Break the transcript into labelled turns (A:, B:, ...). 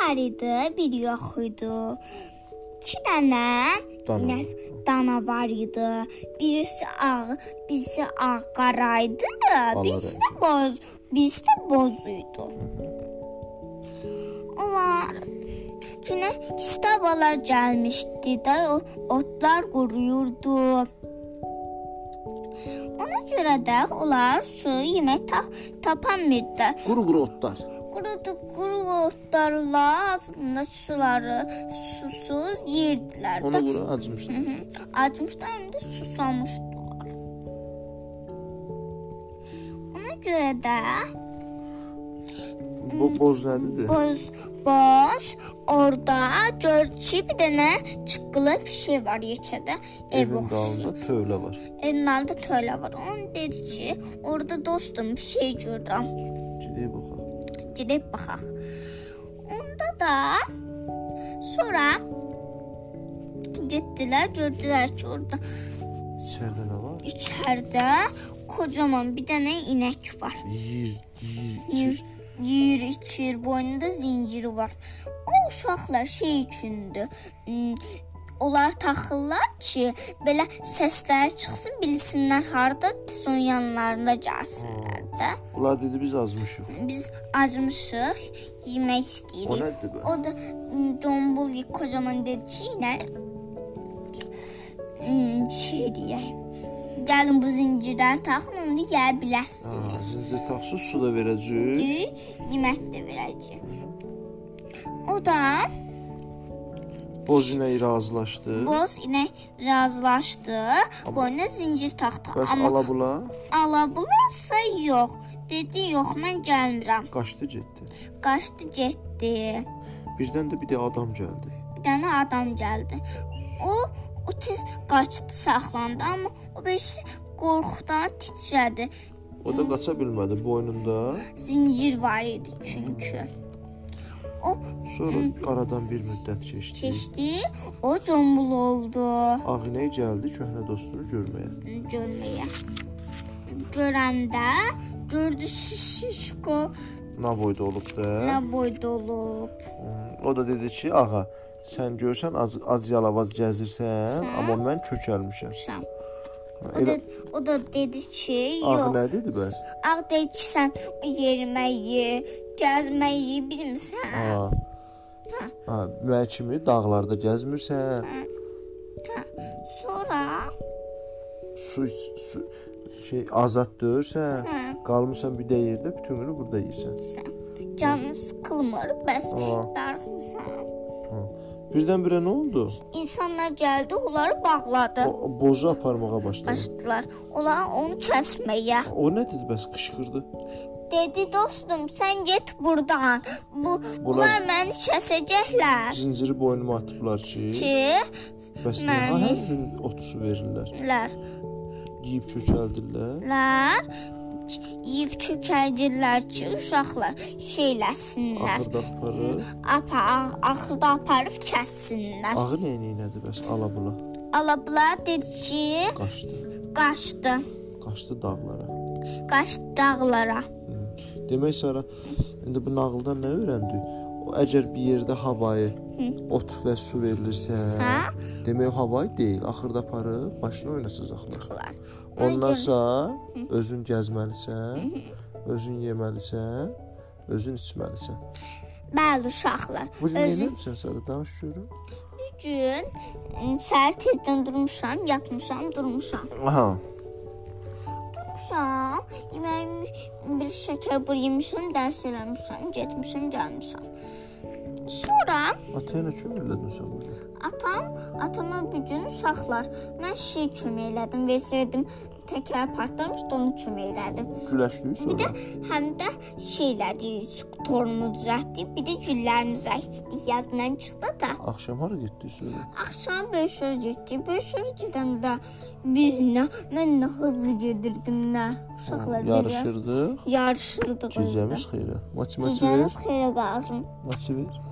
A: var idi, bir yox idi. İki dənə
B: Dana.
A: inə- dana var idi. Birisi ağ, birisi ağ qara idi, birisi də boz, birisi də boz idi. Onlar günə kitabalar gəlmişdi də, o otlar quruyurdu. Ona görə də onlar su, yemək ta tapamırdı.
B: Quru quru otlar.
A: Qurudu quru otlarla aslında suları susuz yeyirdilər.
B: Ona görə acımışdı.
A: Hı, Acmışlar hem de susamışdılar. Ona görə də
B: Bu boz nədir?
A: boz boz orada gör ki bir dənə çıqqılı bir şey var yeçədə ev
B: Evin
A: oxşuyur.
B: dalında tövlə var.
A: Evin altında tövlə var. Onu dedi ki, orada dostum bir şey görürəm.
B: Gedib baxaq.
A: gedib baxaq. Onda da sonra getdilər, gördülər ki, orada
B: İçəridə nə var?
A: içəridə kocaman bir dənə inək var.
B: Yeyir, yeyir,
A: Yeyir,
B: içir.
A: yeyir, içir, boynunda zinciri var. O uşaqlar şey üçündür. m, Onlar taxırlar ki, belə səsləri çıxsın, bilsinlər harda, son yanlarına gəlsinlər də.
B: Bunlar dedi biz azmışıq.
A: Biz acmışıq, yemək istəyirik.
B: O nədir bu?
A: O da m, dombul kocaman dedi ki yine m, şey diye. Gəlin bu zincirlər taxın, onu yeyə bilərsiniz.
B: Sizə taxsus su da verəcək.
A: Dü yemək də verəcək. O da
B: Boz inəyi razılaşdı.
A: boz inək razılaşdı. Boyuna zincir taxdı.
B: Bəs
A: Amma
B: ala bula
A: ala bulansa yox. Dedi, yox, mən gəlmirəm.
B: qaçdı getdi.
A: Qaçdı, getdi.
B: Birdən də bir də adam gəldi.
A: bir dənə adam gəldi. O o tez qaçdı, saxlandı, amma o beş qorxudan titrədi.
B: O da qaça bilmədi boynunda.
A: Zincir var idi çünki. O
B: Sonra aradan bir müddət keçdi.
A: keçdi, o combul oldu
B: Ağ inək gəldi köhnə dostunu görməyə.
A: görməyə. Görəndə gördü şişko
B: Nə boyda olub
A: nə
B: da.
A: boyda olub.
B: O da dedi ki, ağa, sən görsən ac, ac yalavaz gəzirsən,
A: Sən?
B: amma mən kökəlmişəm.
A: Şam.
B: Ha,
A: Hə? O da
B: Elə
A: o da dedi ki,
B: ağ
A: yox.
B: Ah, nə dedi bəs?
A: Ağ deyir ki, sən yeriməyi, gəzməyi bilmirsən.
B: Ha. Ha, mən kimi dağlarda gəzmirsən,
A: Hə. Sonra
B: su, iç- su şey azad döyürsən,
A: Hə.
B: qalmısan bir də yerdə bütün günü burada yeyirsən.
A: sən canın sıkılmır, bəs
B: Aa.
A: darıxmısan.
B: Birdən-birə nə oldu?
A: İnsanlar gəldi, onları bağladı.
B: O, o bozu aparmağa başladı.
A: Başladılar. Onlar onu kəsməyə.
B: O nə dedi bəs qışqırdı?
A: Dedi dostum, sən get burdan. Bu bunlar məni kəsəcəklər.
B: Zinciri boynuma atıblar ki,
A: Ki,
B: bəs niyə
A: məni-
B: hər gün otusu verirlər?
A: lər,
B: Yeyib kökəldirlər.
A: lər yeyib kökəldirlər ki, uşaqlar şeyləsinlər.
B: Axırda aparır.
A: Apa, axırda aparıb kəssinlər.
B: Ağı nə elədi bəs alabula
A: Alablar dedi ki,
B: qaçdı.
A: qaçdı.
B: Qaçdı dağlara.
A: Qaçdı dağlara.
B: Demək Sara, indi bu nağıldan nə öyrəndik? O əgər bir yerdə havayı ot və su verilirsə,
A: Sə?
B: demək o havayı deyil, axırda aparıb başına oynasacaqlar.
A: çıxdılar.
B: Ondansa özün gəzməlisən, özün yeməlisən, özün içməlisən.
A: Bəli uşaqlar.
B: Bu gün nə
A: Özüm
B: etmisən Sara? Danış görüm.
A: bu gün m, səhər tezdən durmuşam, yatmışam, durmuşam.
B: Aha.
A: Durmuşam, yeməyimi bir şəkər bur yemişəm, dərs eləmişəm, getmişəm, gəlmişəm. Sonra
B: Atena kim elədin sən bunu?
A: atam, atama bu gün uşaqlar, mən şey kömək elədim, verdim, təkrar partlamışdı, onu kömək elədim.
B: Güləşdiyi sonra.
A: Həm də şeylədi, torunu düzəltdi, bir də güllərimizi əkdi. Yadından çıxdı da.
B: Axşam hara getdiyi sonra.
A: Axşam 5 ora getdik. 5 ora gedəndə biz nə, mən nə hızlı gedirdim nə. Uşaqlar biraz
B: Yarışırdıq.
A: yarışırdıq. özdə.
B: Gecəmiz xeyrə. Maçı maçı ver.
A: Gecəniz xeyrə qalsın.
B: Maçı ver.